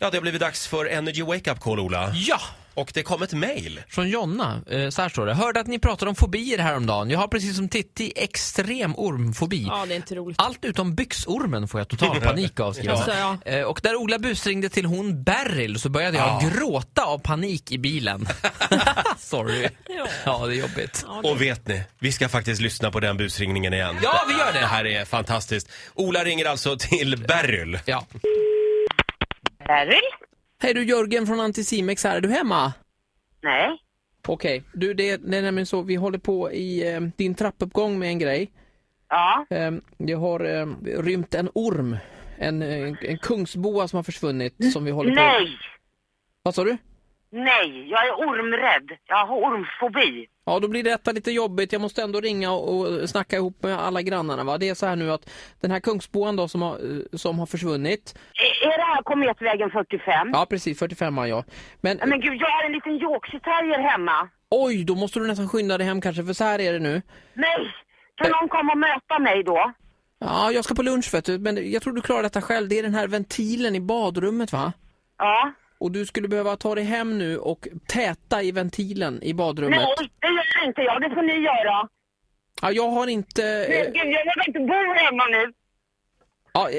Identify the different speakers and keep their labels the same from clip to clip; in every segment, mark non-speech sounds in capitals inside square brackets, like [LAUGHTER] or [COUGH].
Speaker 1: Ja, det har blivit dags för Energy Wake Up Call, Ola.
Speaker 2: Ja!
Speaker 1: Och det kom ett mejl.
Speaker 2: Från Jonna, eh, så här står det. Hörde att ni pratade om fobier häromdagen. Jag har precis som Titti extrem ormfobi.
Speaker 3: Ja, det är inte roligt.
Speaker 2: Allt utom byxormen får jag total panik av skriver
Speaker 3: Alltså,
Speaker 2: hon.
Speaker 3: ja.
Speaker 2: Eh, Och där Ola busringde till hon Beryl så började jag gråta av panik i bilen. Sorry.
Speaker 3: Ja.
Speaker 2: Ja, det är jobbigt.
Speaker 1: Och vet ni, vi ska faktiskt lyssna på den busringningen igen.
Speaker 2: Ja, vi gör
Speaker 1: Det
Speaker 2: det!
Speaker 1: här är fantastiskt. Ola ringer alltså till Beryl.
Speaker 2: Ja.
Speaker 4: Beryl?
Speaker 2: Hej du Jörgen från Anticimex här, är du hemma?
Speaker 4: Nej.
Speaker 2: Okej, du det är, det är nämligen så vi håller på i eh, din trappuppgång med en grej.
Speaker 4: Ja.
Speaker 2: Eh, det har eh, rymt en orm, en, eh, en kungsboa som har försvunnit som vi håller på...
Speaker 4: Mm. Nej.
Speaker 2: Vad sa du?
Speaker 4: Nej. Jag är ormrädd. Jag har ormfobi.
Speaker 2: Ja, då blir detta lite jobbigt. Jag måste ändå ringa och, och snacka ihop med alla grannarna. Va? Det är så här nu att den här kungsboan då som har, eh, som har försvunnit,
Speaker 4: Ä- E-, Är det här Kometvägen 45?
Speaker 2: ja precis, 45 har jag. Men,
Speaker 4: Nej, Men gud, jag har en liten yorkshire terrier hemma.
Speaker 2: oj, då måste du nästan skynda dig hem kanske, för så här är det nu.
Speaker 4: Nej. Kan någon komma och möta mig då?
Speaker 2: Ja, jag ska på lunch vet du, men jag tror du klarar detta själv. Det är den här ventilen i badrummet va?
Speaker 4: Ja.
Speaker 2: Och du skulle behöva ta dig hem nu och täta i ventilen i badrummet.
Speaker 4: Nej, det gör inte jag. Det får ni göra.
Speaker 2: Ja, jag har inte...
Speaker 4: Men
Speaker 2: Eh,
Speaker 4: gud, jag vågar inte bo hemma nu.
Speaker 2: ja, eh,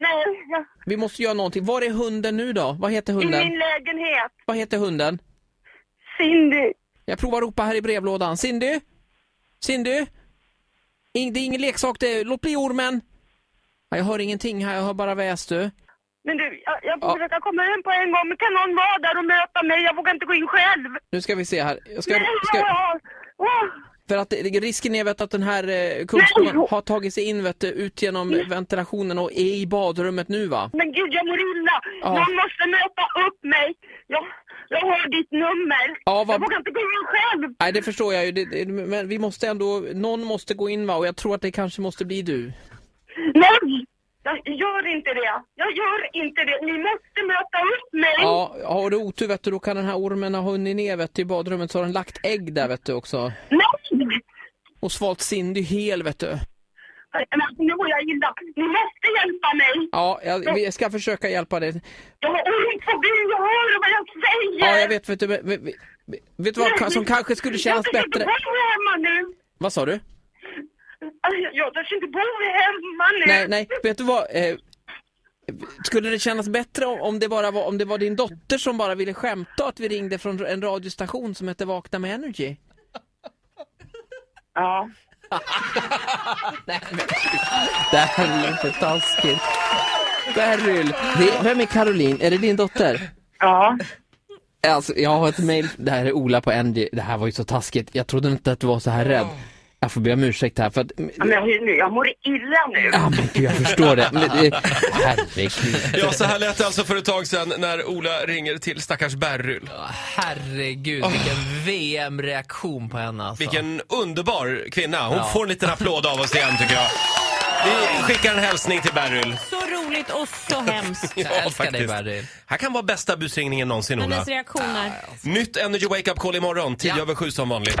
Speaker 4: Nej. jag-
Speaker 2: vi måste göra någonting. Var är hunden nu då? Vad heter
Speaker 4: I
Speaker 2: hunden?
Speaker 4: min lägenhet.
Speaker 2: Vad heter hunden?
Speaker 4: Cindy.
Speaker 2: Jag provar att ropa här i brevlådan. Cindy? Cindy? In, det är ingen leksak det. är- Låt bli ormen! Ja, jag hör ingenting här, jag hör bara väs du.
Speaker 4: Men du, jag, jag får
Speaker 2: Ja.
Speaker 4: försöka komma hem på en gång. Men kan någon vara där och möta mig? Jag vågar inte gå in själv.
Speaker 2: Nu ska vi se här. Jag ska,
Speaker 4: Nej,
Speaker 2: ska,
Speaker 4: jag- Åh.
Speaker 2: för att det- det- risken är vet, att den här eh, kungsboan
Speaker 4: Nej.
Speaker 2: har tagit sig in vet, du, ut genom ventilationen och är i badrummet nu va?
Speaker 4: Men gud, jag mår illa.
Speaker 2: Ja.
Speaker 4: Någon måste möta upp mig. Jag, jag har ditt nummer.
Speaker 2: Ja, vad-
Speaker 4: Jag vågar inte gå in själv.
Speaker 2: Nej, det förstår jag ju. Det, det, men vi måste ändå, någon måste gå in va? Och jag tror att det kanske måste bli du.
Speaker 4: Nej! Jag gör inte det. Jag gör inte det. Ni måste möta upp mig.
Speaker 2: Ja, har du otur vet du, då kan den här ormen ha hunnit ner vet du, i badrummet så har den lagt ägg där vet du också.
Speaker 4: Nej!
Speaker 2: Och svalt Cindy hel vet du.
Speaker 4: Men alltså, nu mår jag illa. Ni måste hjälpa mig.
Speaker 2: Ja, jag, vi ska försöka hjälpa dig.
Speaker 4: Jag har ormfobi. Jag hör vad jag säger.
Speaker 2: Ja, jag vet vet du, men- men- vet du vad som kanske skulle kännas
Speaker 4: jag
Speaker 2: bättre?
Speaker 4: Jag inte bo hemma nu.
Speaker 2: Vad sa du?
Speaker 4: Alltså, Jag jag törs inte bo hemma nu.
Speaker 2: Nej, nej, vet du vad? Eh, skulle det kännas bättre om om det bara var, om det var din dotter som bara ville skämta att vi ringde från en radiostation som hette Vakna med Energy?
Speaker 4: Ja.
Speaker 2: Nej, men gud. Det här är lite taskigt. Beryl, det, vem är Caroline? Är det din dotter?
Speaker 4: Ja.
Speaker 2: Alltså, jag har ett mejl. Det här är Ola på ND. Det här var ju så taskigt. Jag trodde inte att du var så här rädd. Jag får be om ursäkt här för att...
Speaker 4: Ja,
Speaker 2: [LAUGHS]
Speaker 4: Men jag, jag mår illa nu.
Speaker 2: Ja, men gud, jag förstår det. Men, eh, herregud.
Speaker 1: Ja, så här lät det alltså för ett tag sedan när Ola ringer till stackars Beryl.
Speaker 5: Herregud, vilken VM-reaktion på henne alltså.
Speaker 1: Vilken underbar kvinna. Hon får en liten applåd av oss igen tycker jag. Vi skickar en hälsning till Beryl.
Speaker 3: Så roligt och så [LAUGHS] hemskt.
Speaker 1: Ja,
Speaker 5: Jag älskar dig
Speaker 1: faktiskt.
Speaker 5: Beryl.
Speaker 1: Här kan vara bästa busringningen någonsin Ola.
Speaker 3: Hennes reaktioner.
Speaker 1: Nytt Energy Wake Up Call imorgon, 10
Speaker 5: Ja.
Speaker 1: över 7 som vanligt.